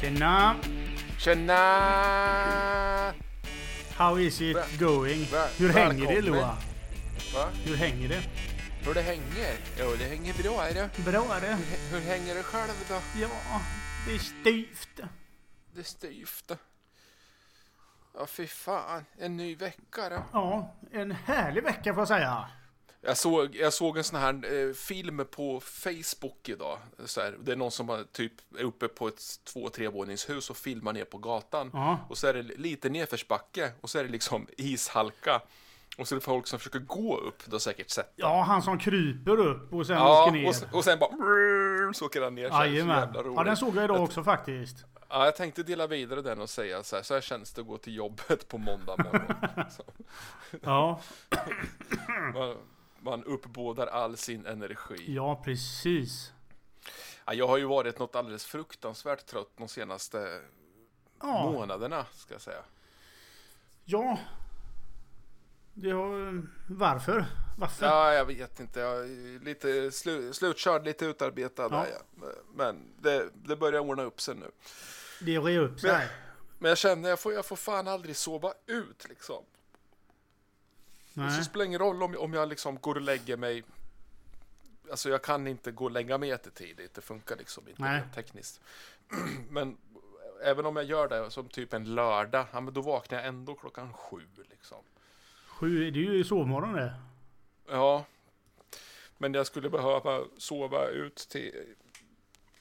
Tjena! Tjena! How is it Väl- going? väl- Hur hänger det välkommen. Loa? Va? Hur hänger det? Hur det hänger? Jo, det hänger bra. Är det? Bra är det. Hur hänger det själv då? Ja, det är styvt. Det är styvt. Ja, fy fan. En ny vecka då. Ja, en härlig vecka får jag säga. Jag såg, jag såg en sån här eh, film på Facebook idag. Så här, det är någon som har typ är uppe på ett två och trevåningshus och filmar ner på gatan. Ja. Och så är det lite nedförsbacke och så är det liksom ishalka. Och så är det folk som försöker gå upp, då säkert sett. Ja, han som kryper upp och sen åker Ja, ner. och, s- och sen bara brrr, så åker han ner. Så här, så Jajamän. jävla roligt. Ja, den såg jag idag också faktiskt. Ja, jag tänkte dela vidare den och säga så här, så här känns det att gå till jobbet på måndag morgon. så, Ja, man, man uppbådar all sin energi. ja precis. Ja, jag har ju varit något alldeles fruktansvärt trött de senaste Ja, månaderna, ska jag säga. ja. Det har, varför? Varför? Ja, jag vet inte. Jag är lite slu, slutkörd, lite utarbetad. Ja. Ja. Ja. Men det, det börjar ordna upp sig nu. Det rev upp sig. Men, men jag känner, jag får, jag får fan aldrig sova ut liksom. Och Nej. så spelar det ingen roll om, om jag liksom går och lägger mig. Alltså jag kan inte gå och lägga mig jättetidigt. Det funkar liksom inte Nej. rent tekniskt. Men även om jag gör det som typ en lördag, ja, men då vaknar jag ändå klockan sju. Liksom. Sju, det är ju sovmorgon det. Ja, men jag skulle behöva sova ut till...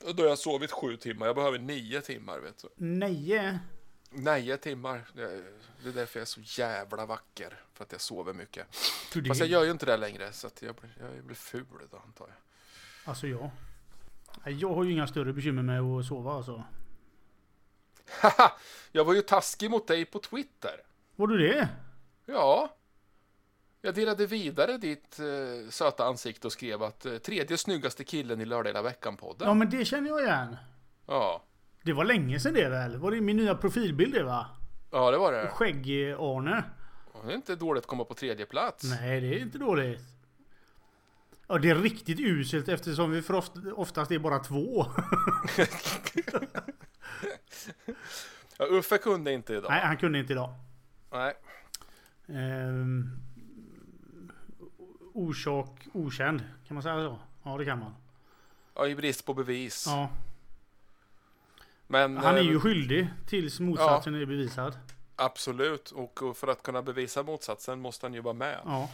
och Då har jag sovit sju timmar. Jag behöver nio timmar. Vet du. Nio. Nio timmar. Det det är därför jag är så jävla vacker. För att jag sover mycket. För det- Fast jag gör ju inte det längre. Så att jag, blir, jag blir ful då antar jag. Alltså jag. Nej, Jag har ju inga större bekymmer med att sova alltså. Haha, jag var ju taskig mot dig på Twitter. Var du det? Ja. Jag delade vidare ditt eh, söta ansikte och skrev att eh, tredje snyggaste killen i lördag hela veckan-podden. Ja Ja. men det känner jag igen. ja. Det var länge sedan det väl? Var det min nya profilbild det va? det var det. Skägg-Arne. Det är inte dåligt att komma på tredje plats. Nej det är inte dåligt. Ja det är riktigt uselt eftersom vi för oft- oftast är bara två. Ja, Uffe kunde inte idag. Nej han kunde inte idag. Nej. Ehm, orsak okänd. Kan man säga så? Ja det kan man. Ja, i brist på bevis. Ja. Men Han är eh, ju skyldig tills motsatsen är bevisad. absolut, och och för att kunna bevisa motsatsen måste han ju vara med. Ja.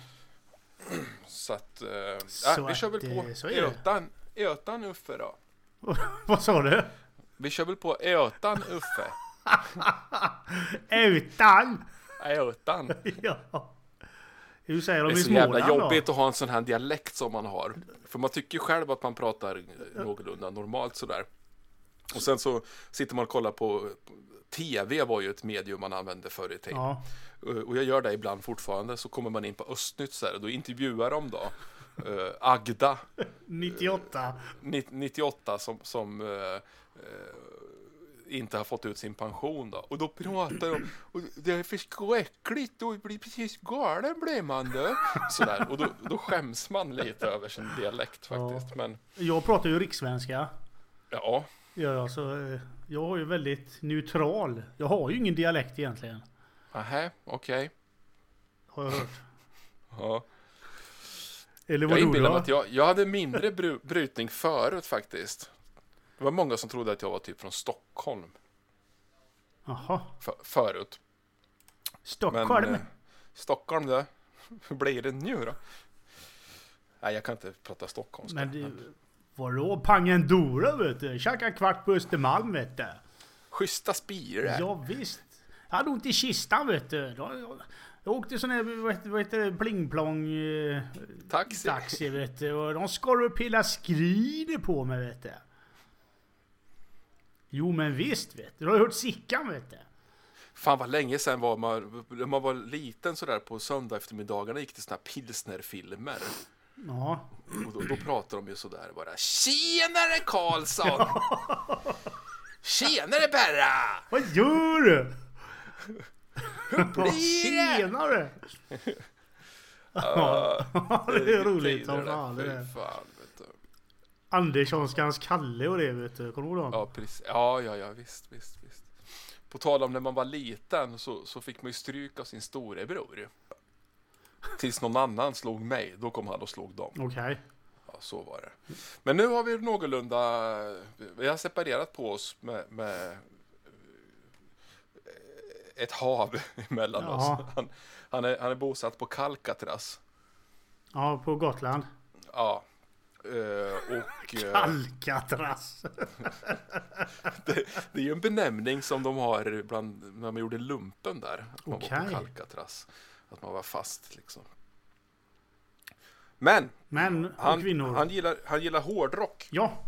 Så att... Eh, ja, Så vi kör att, väl eh, på så är det. Ötan, Ötan Uffe då. Vad sa du? Vi kör väl på Ötan Uffe. Utan! Ötan. Ja. Hur säger de Det är i så jävla Småland jobbigt då? att ha en sån här dialekt som man har. För man tycker ju själv att man pratar eh, någorlunda normalt sådär. Och sen så sitter man och kollar på... TV var ju ett medium man använde förr i tiden. Ja. Eh, Och jag gör det ibland fortfarande. Så kommer man in på Östnytt så här, och då intervjuar de då eh, Agda, 98. ni- 98, som, som eh, eh, inte har fått ut sin pension då. Och då pratar de, och det är förskräckligt, och blir precis galen blir man då. Sådär, och då, då skäms man lite över sin dialekt faktiskt. Men Jag pratar ju rikssvenska. ja, Ja, ja, så, eh, jag har ju väldigt neutral. Jag har ju ingen dialekt egentligen. nähä, okej. Har jag hört. Ja. Eller Jag vad du inbillar mig då? att jag, jag hade mindre bru, brytning förut faktiskt. Det var många som trodde att jag var typ från Stockholm. Jaha. för, förut. Men, Stockholm. eh, Stockholm det. Hur blir det nu då? Nej, jag kan inte prata stockholmska. Men du, vadå Pangendora vet du? Käka kvart på Östermalm vet du. Schyssta spire. Ja, visst. Jag hade ont i kistan vet du. Jag, jag, jag åkte sån här, vad heter- vad heter det, plingplong... Eh, Taxi. taxi vet du. Och de skar upp hela skrinet på mig vet du. Jo men visst vet du. Du har hört Sickan vet du. Fan vad länge sedan var man, när man var liten sådär på söndag eftermiddagarna gick det såna här pilsnerfilmer. Ja. Och då, då pratar de ju sådär bara. Tjenare Karlsson! Tjenare Berra! Vad gör du? Hur blir det? Tjenare! Ja, det är roligt som Tider, fan det fy där. fan, vet du. Anderssonskans Kalle och det vet du. Kommer du ihåg dem? Ja, precis. Ja, ja, ja, visst, visst, visst. På tal om när man var liten så, så fick man ju stryk av sin storebror. Tills någon annan slog mig, då kom han och slog dem. Okej. Ja, så var det. Men nu har vi någorlunda, vi har separerat på oss med, med eh, ett hav emellan Jaha. oss. Han, han, är, han är bosatt på Kalkatras. Ja, på Gotland. Ja. Eh, och eh, Alcatraz. det, det är ju en benämning som de har bland, när man gjorde lumpen där. Att man var på Okej. Kalkatras. Att man var fast liksom. Men Män och han, kvinnor. han, gillar, han gillar hårdrock. Ja.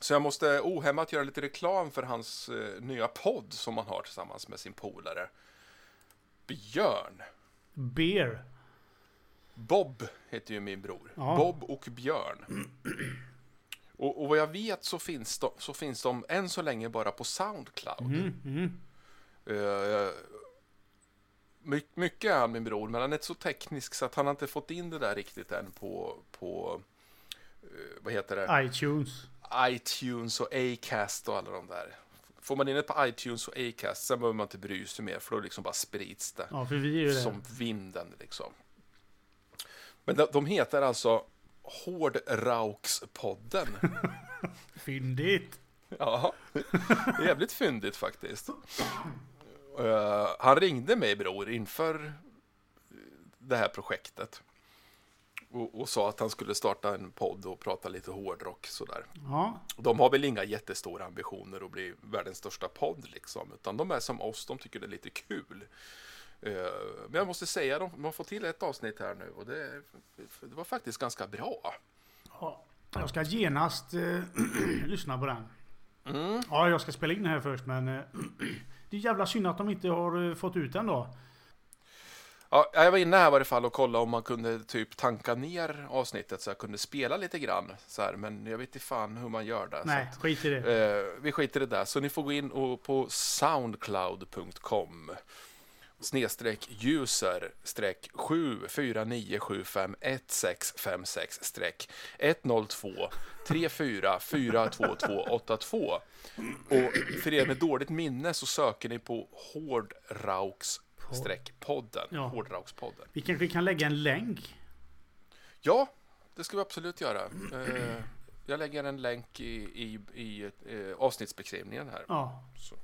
Så jag måste ohämmat göra lite reklam för hans eh, nya podd som han har tillsammans med sin polare Björn. Beer. Bob heter ju min bror. Ja. Bob och Björn. Och, och vad jag vet så finns, de, så finns de än så länge bara på Soundcloud. Mm, mm. Eh, my, mycket är han min bror, men han är inte så teknisk så att han har inte fått in det där riktigt än på, på eh, vad heter det? iTunes. iTunes och Acast och alla de där. Får man in det på iTunes och Acast, sen behöver man inte bry sig mer, för då liksom bara sprids det. Ja, för vi är ju det. Som vinden liksom. Men de, de heter alltså Hårdraukspodden. Fyndigt. Ja, det är jävligt fyndigt faktiskt. Eh, han ringde mig bror inför det här projektet. Och, och sa att han skulle starta en podd och prata lite hårdrock sådär. Ja. Och De har väl inga jättestora ambitioner att bli världens största podd liksom, utan de är som oss, de tycker det är lite kul. Eh, Men jag måste säga, de, man får till ett avsnitt här nu och det, det var faktiskt ganska bra. ja. Jag ska genast eh, lyssna på den. Mm. Ja, jag ska spela in den här först men... Eh, det är jävla synd att de inte har eh, fått ut den då. Ja, jag var inne här i varje fall och kollade om man kunde typ tanka ner avsnittet så jag kunde spela lite grann. Så här, men jag vet inte fan hur man gör det. Nej, Så skit i det. att, eh, vi skiter i det där. Så ni får gå in och på soundcloud.com snedstreck user streck 749751656 streck 102 34428282 och för er med dåligt minne så söker ni på hårdrauks streck podden Ja. hårdraukspodden Vi kanske kan lägga en länk. ja det ska vi absolut göra Eh, jag lägger en länk i, i, i eh, avsnittsbeskrivningen här Ja. så.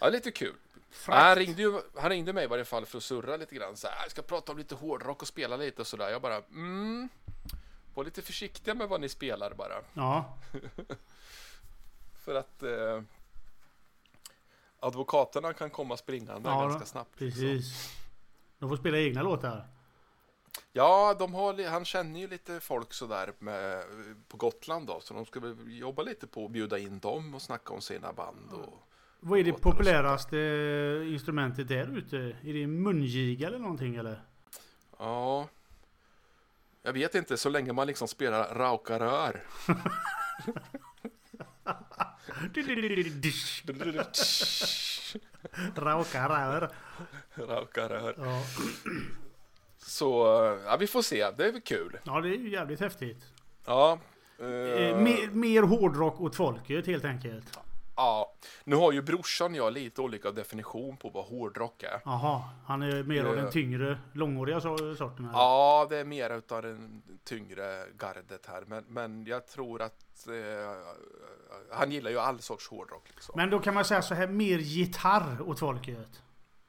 Ja, lite kul. Frakt. Han ringde, ju, han ringde mig i varje fall för att surra lite grann. Så här, jag ska prata om lite hårdrock och spela lite och sådär. Jag bara, mm. Var lite försiktiga med vad ni spelar bara. Ja. För att eh, advokaterna kan komma springande Ja, ganska då. snabbt. liksom. Precis. De får spela egna låtar. Ja, de har, li- han känner ju lite folk sådär med, på Gotland då. Så de ska väl jobba lite på att bjuda in dem och snacka om sina band. Och, Vad är det Låtar och sånt där. populäraste eh, instrumentet där ute? Är det mungiga eller någonting eller? Ja. Jag vet inte, så länge man liksom spelar rauka rör. Rauka rör. rauka rör. Ja. Så, ja vi får se. Det är väl kul. ja, det är ju jävligt häftigt. Ja. eh, Eh, mer, mer hårdrock åt folket helt enkelt. ja. Nu har ju brorsan och jag lite olika definition på vad hårdrock är. Jaha, han är mer av Eh. den tyngre, långåriga so- sorten? eller? Ja, det är mer utav den tyngre gardet här. Men, men jag tror att eh, han gillar ju all sorts hårdrock. Liksom. Men då kan man säga så här, mer gitarr åt folket?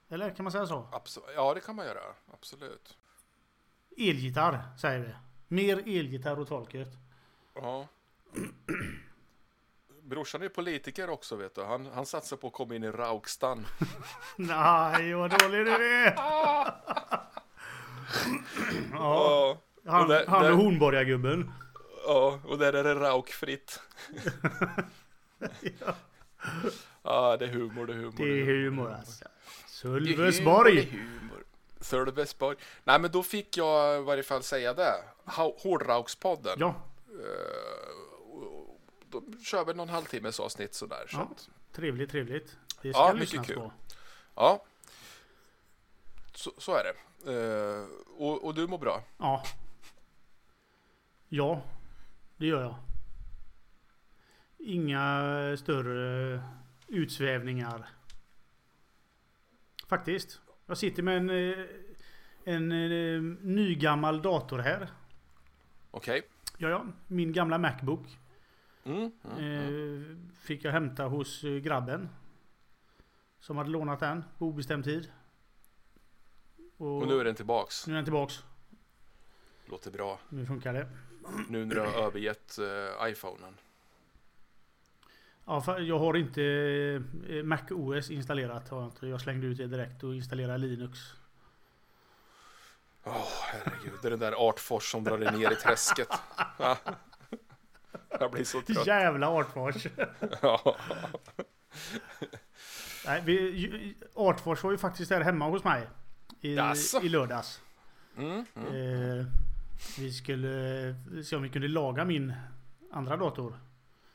Eller kan man säga så? Abso- ja, det kan man göra. Absolut. Elgitarr säger vi. Mer elgitarr åt folket. Ja. Brorsan är ju politiker också vet du. Han, han satsar på att komma in i Raukstan. Nej, vad dålig du är! ja, Ja. han, och där- han där- och Hornborgagubben. Ja, och där är det raukfritt. Ja. Ja, det är humor, det är humor. Det är humor alltså. Det är humor, det är Sölvesborg! humor. Sölvesborg. Nej, men då fick jag i varje fall säga det. Ha- Hårdraukspodden. Ja, Då kör vi någon halvtimmes avsnitt sådär. Så. Ja. att- trevligt, trevligt. Det Ja, ska mycket lyssnas kul. på. Ja. Så, så är det. Eh, och, och du mår bra? Ja. Ja. Det gör jag. Inga större utsvävningar. Faktiskt. Jag sitter med en, eh, en eh, nygammal dator här. Okej. Ja, ja. Min gamla Macbook. Mm, mm, mm. Eh, fick jag hämta hos eh, grabben. Som hade lånat den på obestämd tid. Mm. Och nu är den tillbaks. nu är den tillbaks. Låter bra. Nu funkar det. Nu när du har övergett uh, iPhonen. Ja, för jag har inte eh, Mac OS installerat. Har jag, inte. jag slängde ut det direkt och installerade Linux. Åh herregud, det är den där Artfors som drar dig ner i träsket. Ja. Jag blir så trött. Jävla Artfors! Ja. Nej, vi, ju- Artfors var ju faktiskt där hemma hos mig. I, Jaså? i lördags. Mm, mm. Eh, vi skulle eh, se om vi kunde laga min andra dator.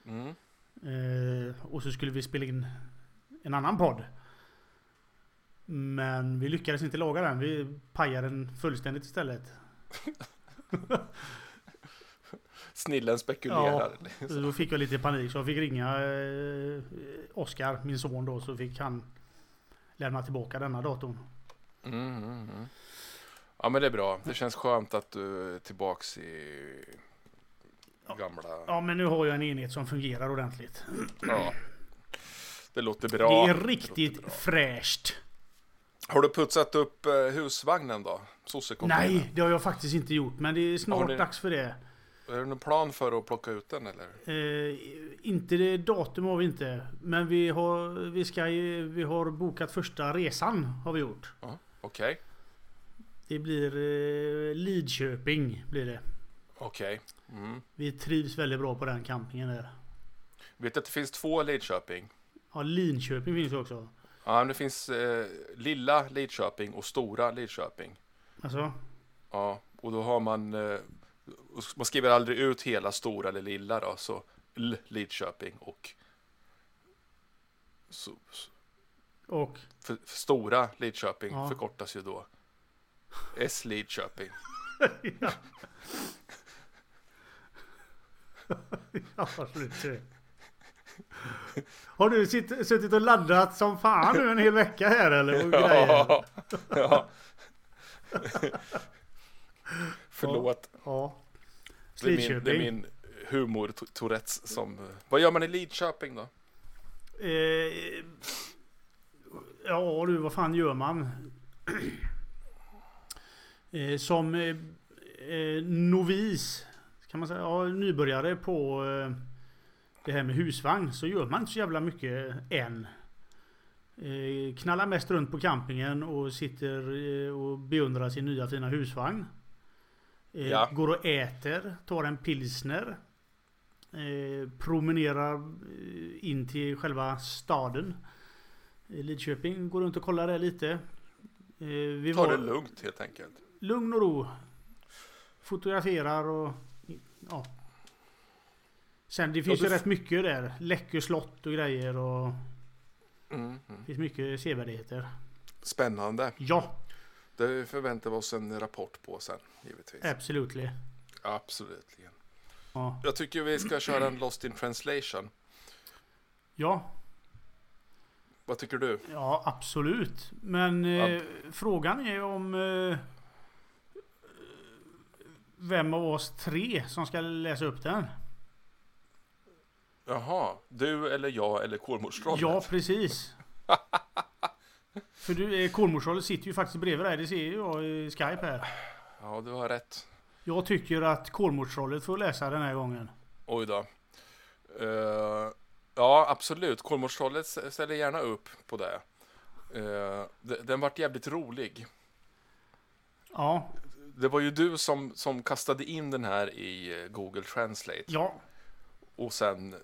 Mm. Eh, och så skulle vi spela in en annan podd. Men vi lyckades inte laga den. Vi pajade den fullständigt istället. Snillen spekulerar. Så då fick jag lite panik så jag fick ringa eh, Oskar, min son då, så fick han lämna tillbaka denna datorn. Mm, mm, mm. Ja men det är bra. Det känns skönt att du är tillbaks i gamla... Ja men nu har jag en enhet som fungerar ordentligt. Ja. Det låter bra. det är låter riktigt bra. fräscht. Har du putsat upp eh, husvagnen då? Sossecontainern? Nej, det har jag faktiskt inte gjort men det är Har snart ni- dags för det. Är det någon plan för att plocka ut den eller? Eh, inte det datum har vi inte. Men vi har, vi, ska, ju- vi har bokat första resan har vi gjort. Ja, Okej, Det blir eh, Lidköping blir det. okej. Mm. Vi trivs väldigt bra på den campingen där. Vet du att det finns två Lidköping? Ja, Linköping finns ju också. Ja, men det finns eh, lilla Lidköping och stora Lidköping. Alltså, Ja, och då har man... Eh, och man skriver aldrig ut hela stora eller lilla då, så L Lidköping och... Så, så- och för, för stora Lidköping Ja. förkortas ju då S Lidköping. ja. ja, absolut. Har du sitt, suttit och laddat som fan nu en hel vecka här eller? Och grejer? Ja, ja. Förlåt, ja. det är min, det är Lidköping. min humor-tourettes som... eh, Vad gör man i Lidköping då? Eh, ja du, vad fan gör man? eh, som eh, eh, novis, kan man säga, ja, nybörjare på eh, det här med husvagn så gör man inte så jävla mycket än. Eh, knallar mest runt på campingen och sitter eh, och beundrar sin nya fina husvagn. Eh, Ja. Går och äter, tar en pilsner. Eh, promenerar eh, in till själva staden. I Lidköping, går runt och kollar där lite. Eh, vi Ta var det lugnt helt enkelt. lugn och ro. Fotograferar och ja. Sen det finns du ju f- rätt mycket där. Läckö slott och grejer och Mm, mm. det finns mycket sevärdheter. Spännande. Ja, Det förväntar vi oss en rapport på sen, givetvis. absolut. Absolut. Ja. Jag tycker vi ska köra en Lost in translation. ja, Vad tycker du? ja absolut. Men eh, Ja. frågan är om eh, vem av oss tre som ska läsa upp den. Jaha, du eller jag eller kolmårdsrollen? Ja, precis. För du, eh, Kolmårdsrollen sitter ju faktiskt bredvid dig. Det ser ju jag i Skype här. Ja, du har rätt. Jag tycker att Kolmårdsrollen får läsa den här gången. Oj då. Eh, ja, absolut. Kolmårdsrollen s- ställer gärna upp på det. Eh, d- den vart jävligt rolig. Ja, Det var ju du som, som kastade in den här i eh, Google Translate. ja, Och sen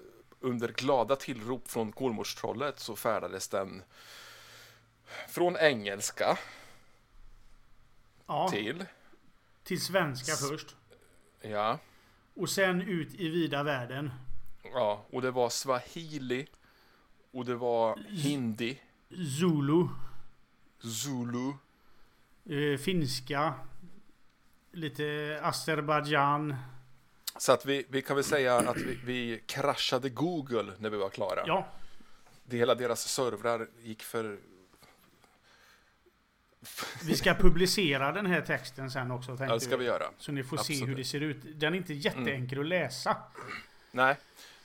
under glada tillrop från Kolmårdstrollet så färdades den från engelska ja. till, Till svenska S- först. ja, Och sen ut i vida världen. ja, och det var swahili och det var hindi, Zulu, zulu, eh, finska, lite Azerbajdzjan, Så att vi, vi kan väl säga att vi, vi kraschade Google när vi var klara. Ja, Det hela deras servrar gick för... vi ska publicera den här texten sen också Ja, tänkte det ska vi göra. Så ni får se Absolut. Mm. hur det ser ut. Den är inte jätteenkel att läsa. Nej,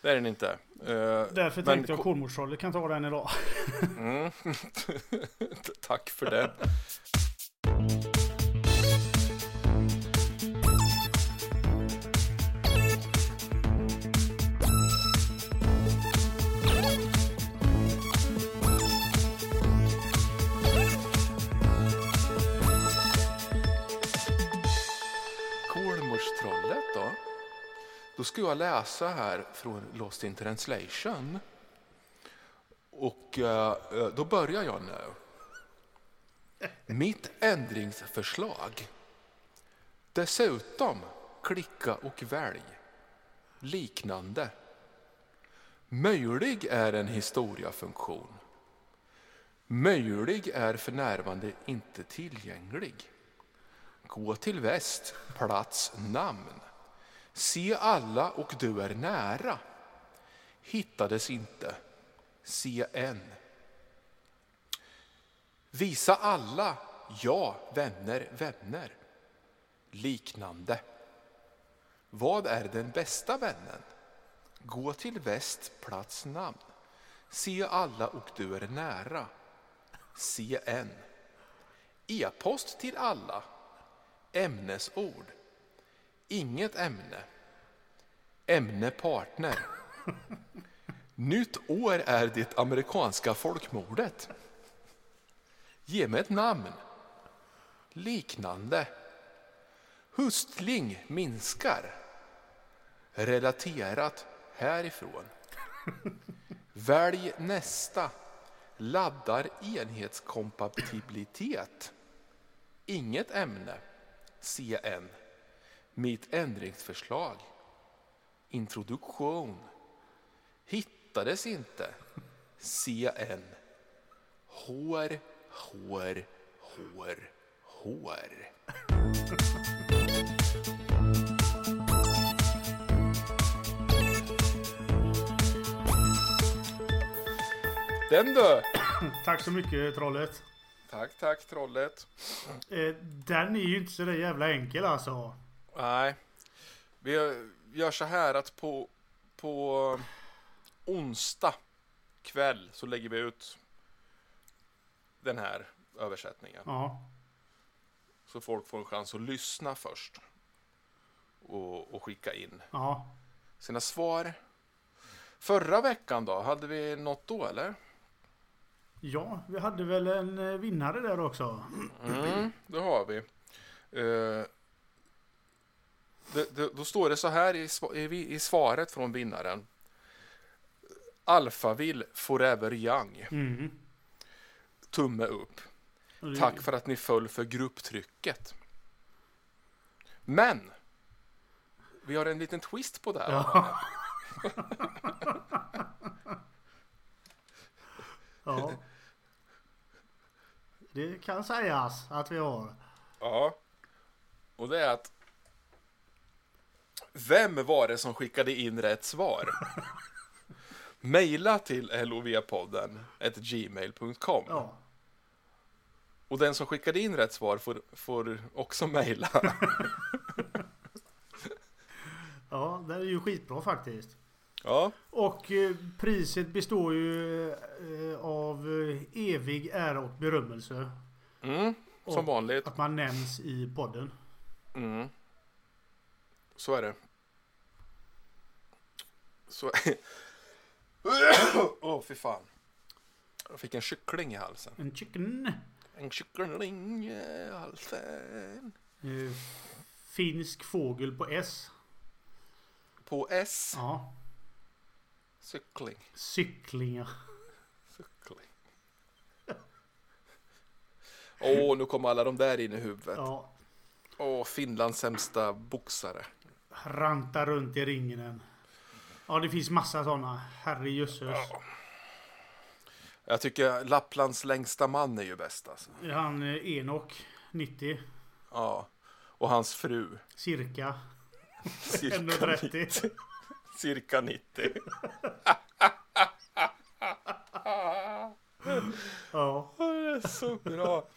det är den inte. Eh, Därför men tänkte jag ko- Kolmårdstrolle kan ta den idag. Mm. Tack för det. Kolmårdstrollet då? Då ska jag läsa här från Lost in translation. Och eh, eh, då börjar jag nu. Mitt ändringsförslag. Dessutom klicka och välj. Liknande. Möjlig är en historiafunktion. Möjlig är för närvarande inte tillgänglig. Gå till väst, plats, namn. Se alla och du är nära. Hittades inte. Se en. Visa alla, ja, vänner, vänner. Liknande. Vad är den bästa vännen? Gå till väst, plats, namn. Se alla och du är nära. Se en. E-post till alla. Ämnesord. Inget ämne. Ämne partner. Nytt år är det amerikanska folkmordet. Ge mig ett namn. Liknande. Hustling minskar. Relaterat härifrån. Välj nästa. Laddar enhetskompatibilitet. Inget ämne. CN. Mitt ändringsförslag. Introduktion. Hittades inte. CN. Hår, hår, hår, hår. Den du! Tack så mycket trollet. Tack, tack trollet. Eh, den är ju inte så där jävla enkel alltså. Nej. Vi gör så här att på, på um, onsdag kväll så lägger vi ut den här översättningen. Ja. Så folk får en chans att lyssna först. Och, och skicka in Ja. sina svar. Förra veckan då, hade vi något då eller? Ja, vi hade väl en eh, vinnare där också. Mm, det har vi. Eh, det, det, då står det så här i, sva- i, vi- i svaret från vinnaren. Alphaville Forever Young. Mm. Tumme upp. Och det- Tack för att ni föll för grupptrycket. Men! Vi har en liten twist på det här. Ja. ja. Det kan sägas att vi har. Ja. Och det är att... Vem var det som skickade in rätt svar? Maila till lovpodden at gmail.com. Ja. Och den som skickade in rätt svar får, får också mejla. Ja, det är ju skitbra faktiskt. ja. Och eh, priset består ju eh, av eh, evig ära och berömmelse. Mm. Och Som vanligt. Att man nämns i podden. Mm. Så är det. Så... Åh, fy fan. Jag fick en kyckling i halsen. En chicken. En kyckling i halsen. Eh, finsk fågel på S. På S. Ja. Cykling. Cyklingar. Cykling. Åh, nu kommer alla de där in i huvudet. Ja. Åh, Finlands sämsta boxare. Ranta runt i ringen än. Ja, det finns massa sådana. Herrejösses. Jag tycker Lapplands längsta man är ju bäst alltså. Han eh, Enok, 90, Ja. Och hans fru. cirka. Cirka 90. 1,30. Cirka 90. Ja. Ja, Det är så bra.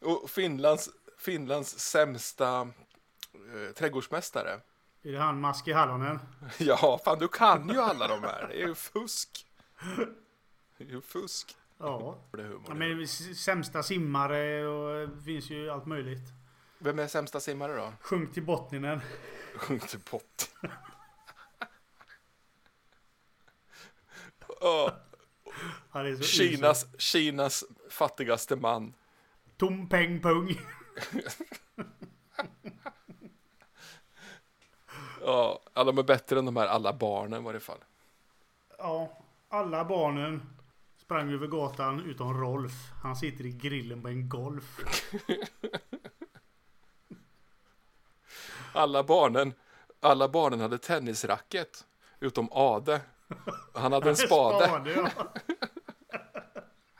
Och Finlands, Finlands sämsta eh, trädgårdsmästare. Är det han Maski Hallonen? Ja, fan du kan ju alla de här. Det är ju fusk. Det är ju fusk. Ja. Det är humor. ja men s- sämsta simmare och det finns ju allt möjligt. Vem är sämsta simmare då? Sjunk till bottninen. Sjung till pott. Ja, Han är så Kinas, Kinas fattigaste man. usel. Tom peng pung. Ja, alla är bättre än de här alla barnen i varje fall. Ja. Alla barnen sprang över gatan utom Rolf. Han sitter i grillen på en Golf. Alla barnen, alla barnen hade tennisracket. Utom Ade. Han hade en spade.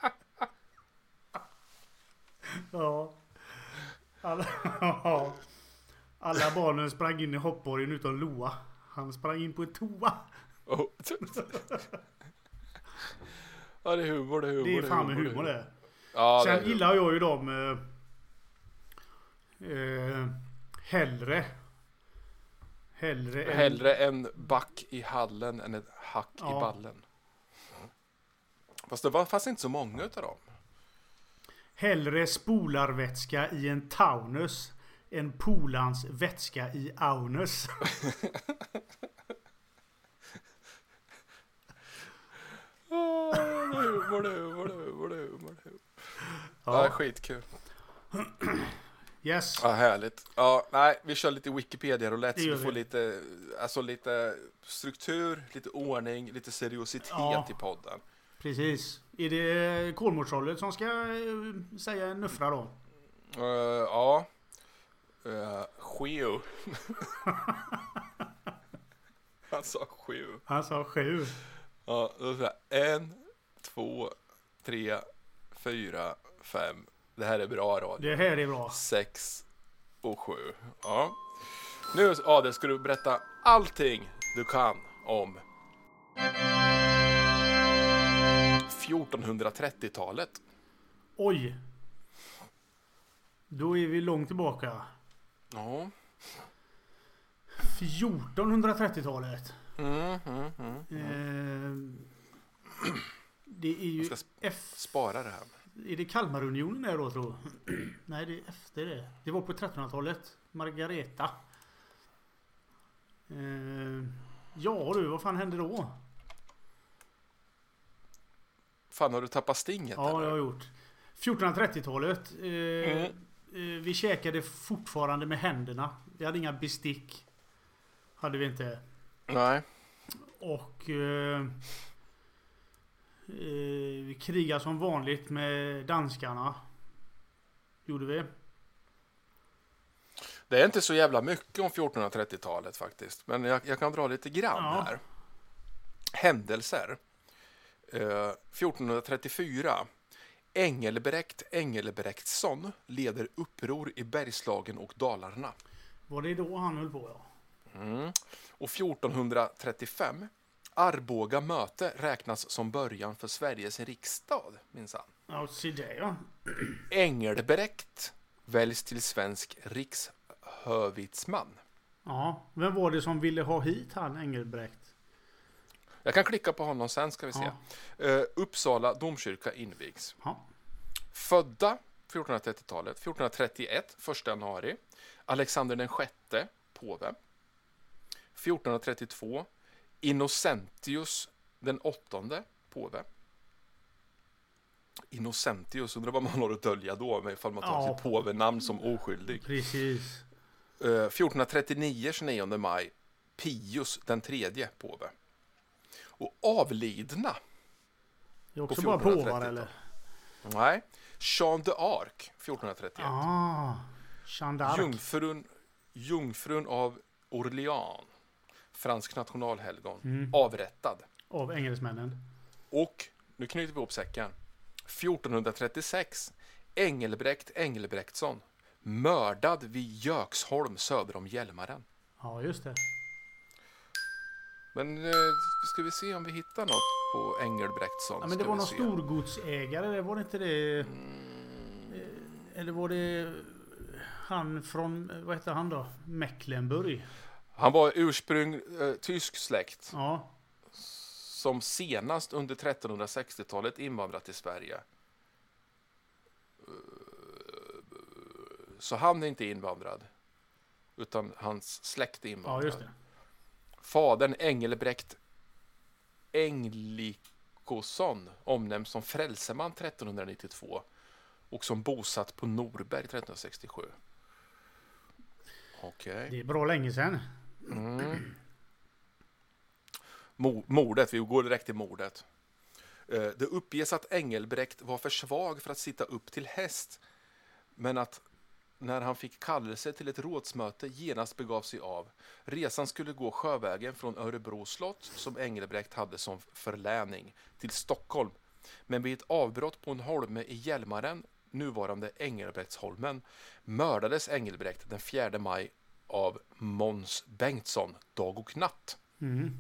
ja. ja. Alla, ja. Alla barnen sprang in i hoppborgen utom Loa. Han sprang in på ett toa. Oh. Ja, det är humor, det är humor. Det är fan humor, med humor det. Ja, det är Sen humor. gillar jag ju dem eh, eh, hellre. Hellre än... Hellre en back i hallen än ett hack i Ja. ballen. Fast det var, fanns inte så många utav dem. Hellre spolarvätska i en taunus än polans vätska i aunus. Åh, det är humor, det är humor, det är humor, det är humor. det är humor. Ja, Ja. skitkul. Yes. Ja, härligt. Ja, nej, vi kör lite Wikipedia roulette Det så gör du får vi. lite, alltså lite struktur, lite ordning, lite seriositet Ja. i podden. Precis. Är det Kolmårdstrollet som ska eh, säga en nuffra då? Eh, ja. Uh, Skeo. Han sa Skeo. Han sa sju. Ja, då ska jag en, två, tre, fyra, fem. Det här är bra radio. Det här är bra. Sex och sju. Ja. Nu Adel ska du berätta allting du kan om 1430-talet. Oj. Då är vi långt tillbaka. Ja. 1430-talet. Mm, mm, mm. Eh, det är ju Jag ska F... Spara det här. Är det Kalmarunionen där då tror jag? Nej, det är efter det. Det var på 1300-talet. Margareta. Eh, ja du, vad fan hände då? Fan, har du tappat stinget Ja, eller? jag har gjort. 1430-talet. Eh, Mm. eh, vi käkade fortfarande med händerna. Vi hade inga bestick. Hade vi inte. Nej. Och... Eh, eh, vi krigade som vanligt med danskarna. Gjorde vi. Det är inte så jävla mycket om 1430-talet faktiskt, men jag, jag kan dra lite grann Ja. här. Händelser. Eh, 1434. Engelbrekt Engelbrektsson leder uppror i Bergslagen och Dalarna. Var det då han höll på ja? Och 1435. Arboga möte räknas som början för Sveriges riksdag, minsann. Ja, se det ja. Engelbrekt väljs till svensk rikshövitsman. Ja, vem var det som ville ha hit han Engelbrekt? Jag kan klicka på honom sen ska vi se. Ja. Eh, Uppsala domkyrka invigs. Ja. Födda 1430-talet, 1431, 1 januari. Alexander den sjätte, påve. 1432, Innocentius den åttonde, påve. Innocentius, undrar vad man har att dölja då, men ifall man tar Ja. sitt påvenamn som oskyldig. Precis. Eh, 1439, 29 maj, Pius den tredje, påve. Och avlidna Det är också På bara påvar 1430-talet. eller? Nej. Jean de Arc, 1431. Ah, Jeanne d'Arc. Jungfrun, jungfrun av Orléans, fransk nationalhelgon, Mm. avrättad. Av engelsmännen. Och, nu knyter vi ihop säcken, 1436, Engelbrekt Engelbrektsson, mördad vid Göksholm söder om Hjälmaren. Ja, just det. Men eh, ska vi se om vi hittar något på Ja, Engelbrektsson? men det Ska var vi någon se. storgodsägare, det var det inte det? Eh, Eller var det han från, vad hette han då? Mecklenburg? Han var ursprung eh, tysk släkt Ja, som senast under 1360-talet invandrat till Sverige. Eh, Så han är inte invandrad, utan hans släkt är ja invandrad. just det. Fadern Engelbrekt Englikosson omnämns som frälseman 1392 och som bosatt på Norberg 1367. Okej. Det är bra länge sedan. Mm. Mo- Mordet, vi går direkt till mordet. Eh, Det uppges att Engelbrekt var för svag för att sitta upp till häst, men att när han fick kallelse till ett rådsmöte genast begav sig av. Resan skulle gå sjövägen från Örebro slott, som Engelbrekt hade som förläning, till Stockholm. Men vid ett avbrott på en holme i Hjälmaren, nuvarande Engelbrektsholmen, mördades Engelbrekt den 4 maj av Måns Bengtsson, Dag och natt. Mm.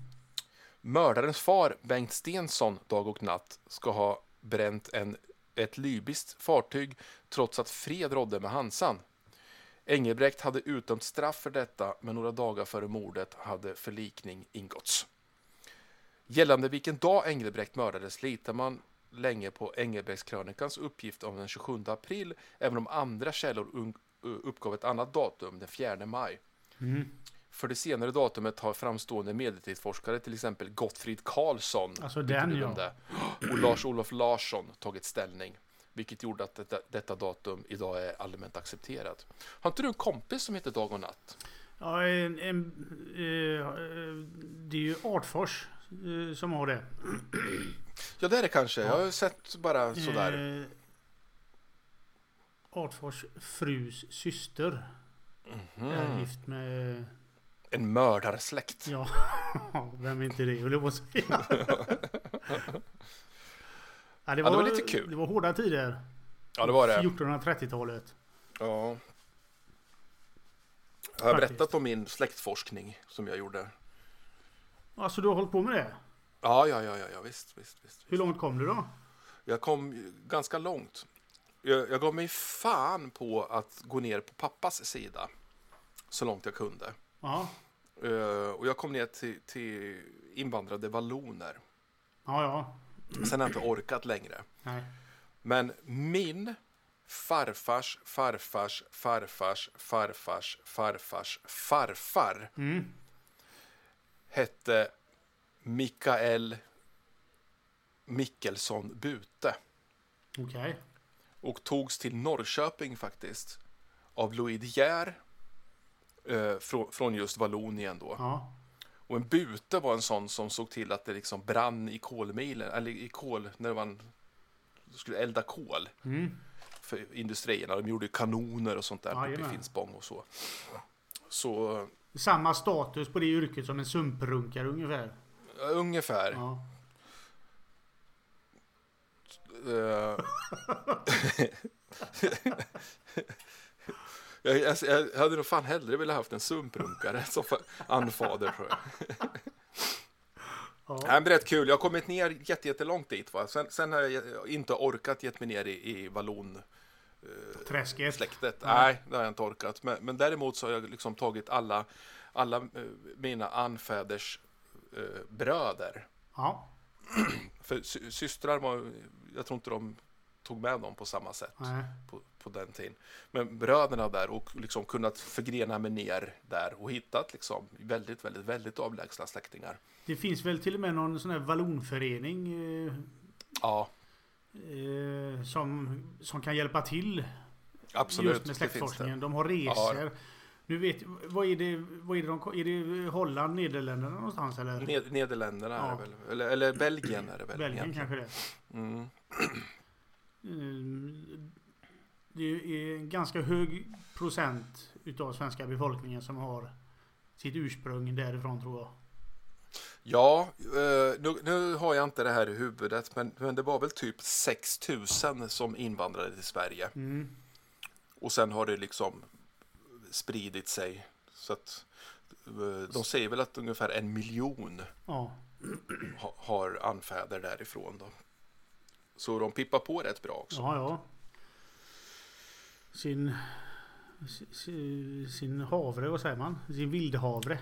Mördarens far, Bengt Stensson, Dag och natt, ska ha bränt en, ett libyskt fartyg trots att fred rådde med Hansan. Engelbrekt hade utdömt straff för detta, men några dagar före mordet hade förlikning ingåtts. Gällande vilken dag Engelbrekt mördades litar man länge på Engelbrektskrönikans uppgift om den 27 april, även om andra källor un- uppgav ett annat datum, den 4 maj. Mm. För det senare datumet har framstående medeltidsforskare, till exempel Gottfrid Karlsson Alltså den den ja. där, och Lars-Olof Larsson tagit ställning, vilket gjorde att detta, detta datum idag är allmänt accepterat. Har inte du en kompis som heter Dag och Natt? ja en, en, eh, eh, det är ju Artfors eh, som har det. Ja, det är det kanske. Jag har ju sett bara sådär. Eh, Artfors frus syster är Mm. gift med... En mördarsläkt. Ja, vem är inte det höll jag på att säga. Ja, Ja, det var lite kul. Det var hårda tider. Ja, det var det. 1430-talet. Ja. Jag har Faktiskt. berättat om min släktforskning som jag gjorde. Alltså du har hållit på med det? Ja, ja, ja, ja, ja visst, visst, visst. Hur långt kom du då? Jag kom ju ganska långt. Jag, jag gav mig fan på att gå ner på pappas sida så långt jag kunde. Ja, Eh, och jag kom ner till, till invandrade valloner. ja, ja. Sen har jag inte orkat längre. Nej. Men min farfars farfars farfars farfars farfars farfar Mm. hette Mikael Mickelsson Bute. Okej. och togs till Norrköping faktiskt av Louis De Geer, eh, från, från just Vallonien då. Ja. Och en bute var en sån som såg till att det liksom brann i kolmilen, eller i kol, när man skulle elda kol Mm. för industrierna. De gjorde ju kanoner och sånt där uppe i Jajamän. Finspång och så. Så eh, Samma status på det yrket som en sumprunkare ungefär. ungefär. Ja. Eh, jag, jag, jag hade nog fan hellre velat haft en sumprunkare som fa- anfader tror jag. Ja. Nej, men rätt kul. Jag har kommit ner jätte- jättelångt dit. Va? Sen, sen har jag inte orkat gett mig ner i, i vallonsläktet. Träsket. Nej, det har jag inte orkat. Men, men däremot så har jag liksom tagit alla, alla eh, mina anfäders eh, bröder. Ja. För sy- systrar var, jag tror inte de tog med dem på samma sätt Nej. på, på den tiden. Men bröderna där och liksom kunnat förgrena mig ner där och hittat liksom väldigt, väldigt, väldigt avlägsna släktingar. Det finns väl till och med någon sån här vallonförening eh, Ja, eh, som, som kan hjälpa till just absolut. med det finns det. släktforskningen. De har resor. Nu vet vad är det, vad är det de, är det Holland, Nederländerna någonstans eller? Ned- Nederländerna är Ja. det väl? Eller, eller Belgien är det väl? Belgien egentligen. kanske det. Mm. Mm, Det är en ganska hög procent utav svenska befolkningen som har sitt ursprung därifrån tror jag. Ja, eh, nu, nu har jag inte det här i huvudet, men, men det var väl typ 6 000 som invandrade till Sverige. Mm. Och sen har det liksom spridit sig. Så att eh, de säger väl att ungefär en miljon Ja. ha, har anfäder därifrån då. Så de pippar på rätt bra också. Ja, ja. Sin... si- si- Sin havre, vad säger man? Sin vildhavre.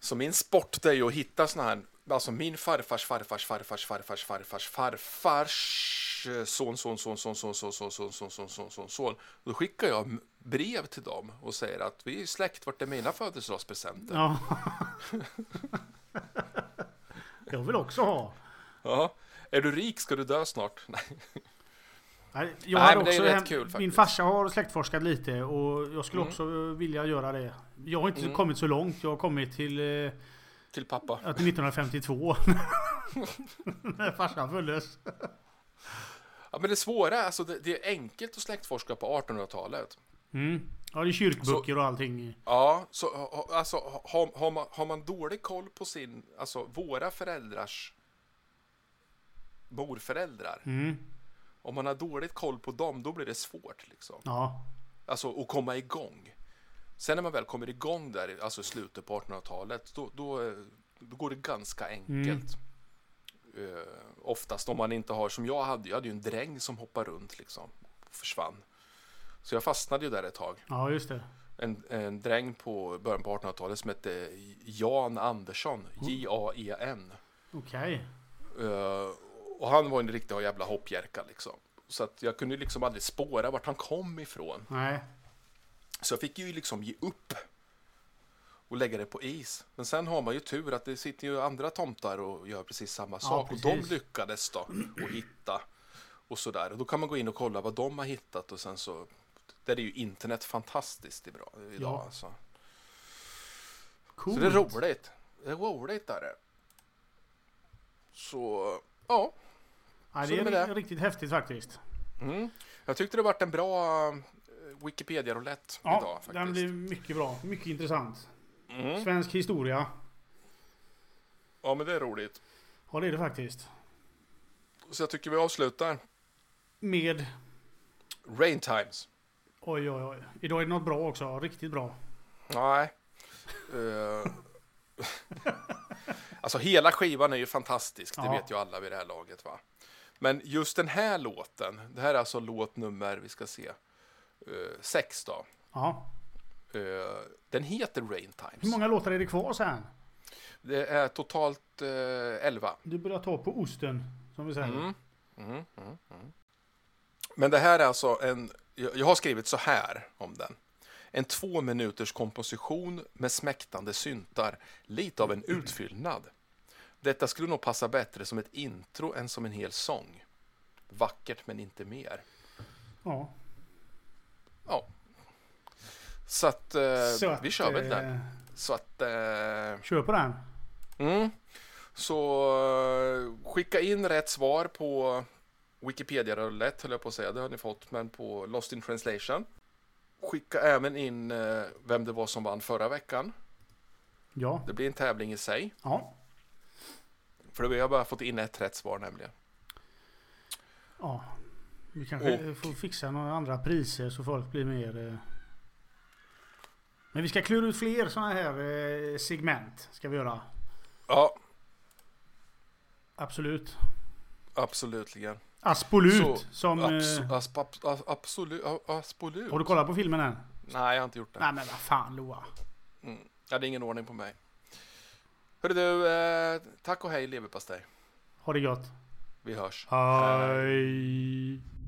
Så min sport det är ju att hitta såna här, alltså min farfars farfars farfars farfars farfars farfars eh, son son son son son son son son son son son son son. Då skickar jag m- brev till dem och säger att vi är släkt, vart är mina födelsedagspresenter? Ja. Jag vill också ha. Ja. Är du rik ska du dö snart. Nej. Nej, Nej, Jag hade men det är också rätt hem, kul min faktiskt. farsa har släktforskat lite och jag skulle Mm. också vilja göra det. Jag har inte Mm. kommit så långt. Jag har kommit till, eh, Till pappa. ja, till 1952. När farsan föddes. Ja, men det svåra, alltså det, det är enkelt att släktforska på 1800-talet. Mm. Ja, det är kyrkböcker och allting. Ja, så ha- ha- alltså har, har, man, har man dålig koll på sin, alltså våra föräldrars morföräldrar. Mm. Om man har dåligt koll på dem, då blir det svårt liksom. Ja. Alltså att komma igång. Sen när man väl kommer igång där, alltså i slutet på 1800-talet, då, då, eh, då går det ganska enkelt. Eh, oftast om man inte har, som jag hade, jag hade ju en dräng som hoppade runt liksom. Och försvann. Så jag fastnade ju där ett tag. ja, just det. En, en dräng på början på 1800-talet som hette Jan Andersson, Mm. J-A-E-N. Okej. Eh, och han var en riktig jävla hoppjerka liksom. Så att jag kunde liksom aldrig spåra vart han kom ifrån. Nej. Så jag fick ju liksom ge upp. Och lägga det på is. Men sen har man ju tur att det sitter ju andra tomtar och gör precis samma sak. Och precis. de lyckades då att hitta. Och sådär. Och då kan man gå in och kolla vad de har hittat och sen så. Där är ju internet fantastiskt bra idag Ja. alltså. Coolt. Så det är roligt. Det är roligt är det. Så, ja. Ja, Så det är det med det. ri- riktigt häftigt faktiskt. Mm. Jag tyckte det vart en bra eh, Wikipedia-roulette Ja, idag faktiskt. den blir mycket bra. Mycket intressant. Mm. Svensk historia. Ja, men det är roligt. Ja, det är det faktiskt. Så jag tycker vi avslutar. Med... Rain Times. Oj, oj, oj. Idag är det något bra också. Riktigt bra. Nej. Eh, alltså hela skivan är ju fantastisk, det Ja. vet ju alla vid det här laget va. Men just den här låten, det här är alltså låt nummer, vi ska se, eh, sex då. Ja. Eh, den heter Rain Times. Hur många låtar är det kvar sen? Det är totalt eh, elva. Du börjar ta på osten, som vi säger. Mm. Mm, mm, mm. Men det här är alltså en, jag jag har skrivit så här om den. En två minuters komposition med smäktande syntar, lite av en utfyllnad. Detta skulle nog passa bättre som ett intro än som en hel sång. Vackert men inte mer. Ja. Ja. Så att, eh, Så att, vi kör väl eh, den. Så att, eh, Kör på den. Mm. Så eh, skicka in rätt svar på Wikipedia-rullet, höll jag på att säga. Det har ni fått, men på Lost in translation. Skicka även in eh, vem det var som vann förra veckan. Ja. Det blir en tävling i sig. Ja. För vi har bara fått in ett rätt svar nämligen. ja. Vi kanske får fixa några andra priser så folk blir mer... eh. Men vi ska klura ut fler sådana här eh, segment. Ska vi göra. Ja, Absolut. absolutligen. Aspolut. Så, som... Abs- eh, asp- abs- as- absolut. a- Absolut. har du kollat på filmen än? Nej, jag har inte gjort det. Nej men vad fan Loa. Mm. Jag hade ingen ordning på mig. Hörru du, eh, tack och hej leverpastej. Ha det gott. Vi hörs. Hej.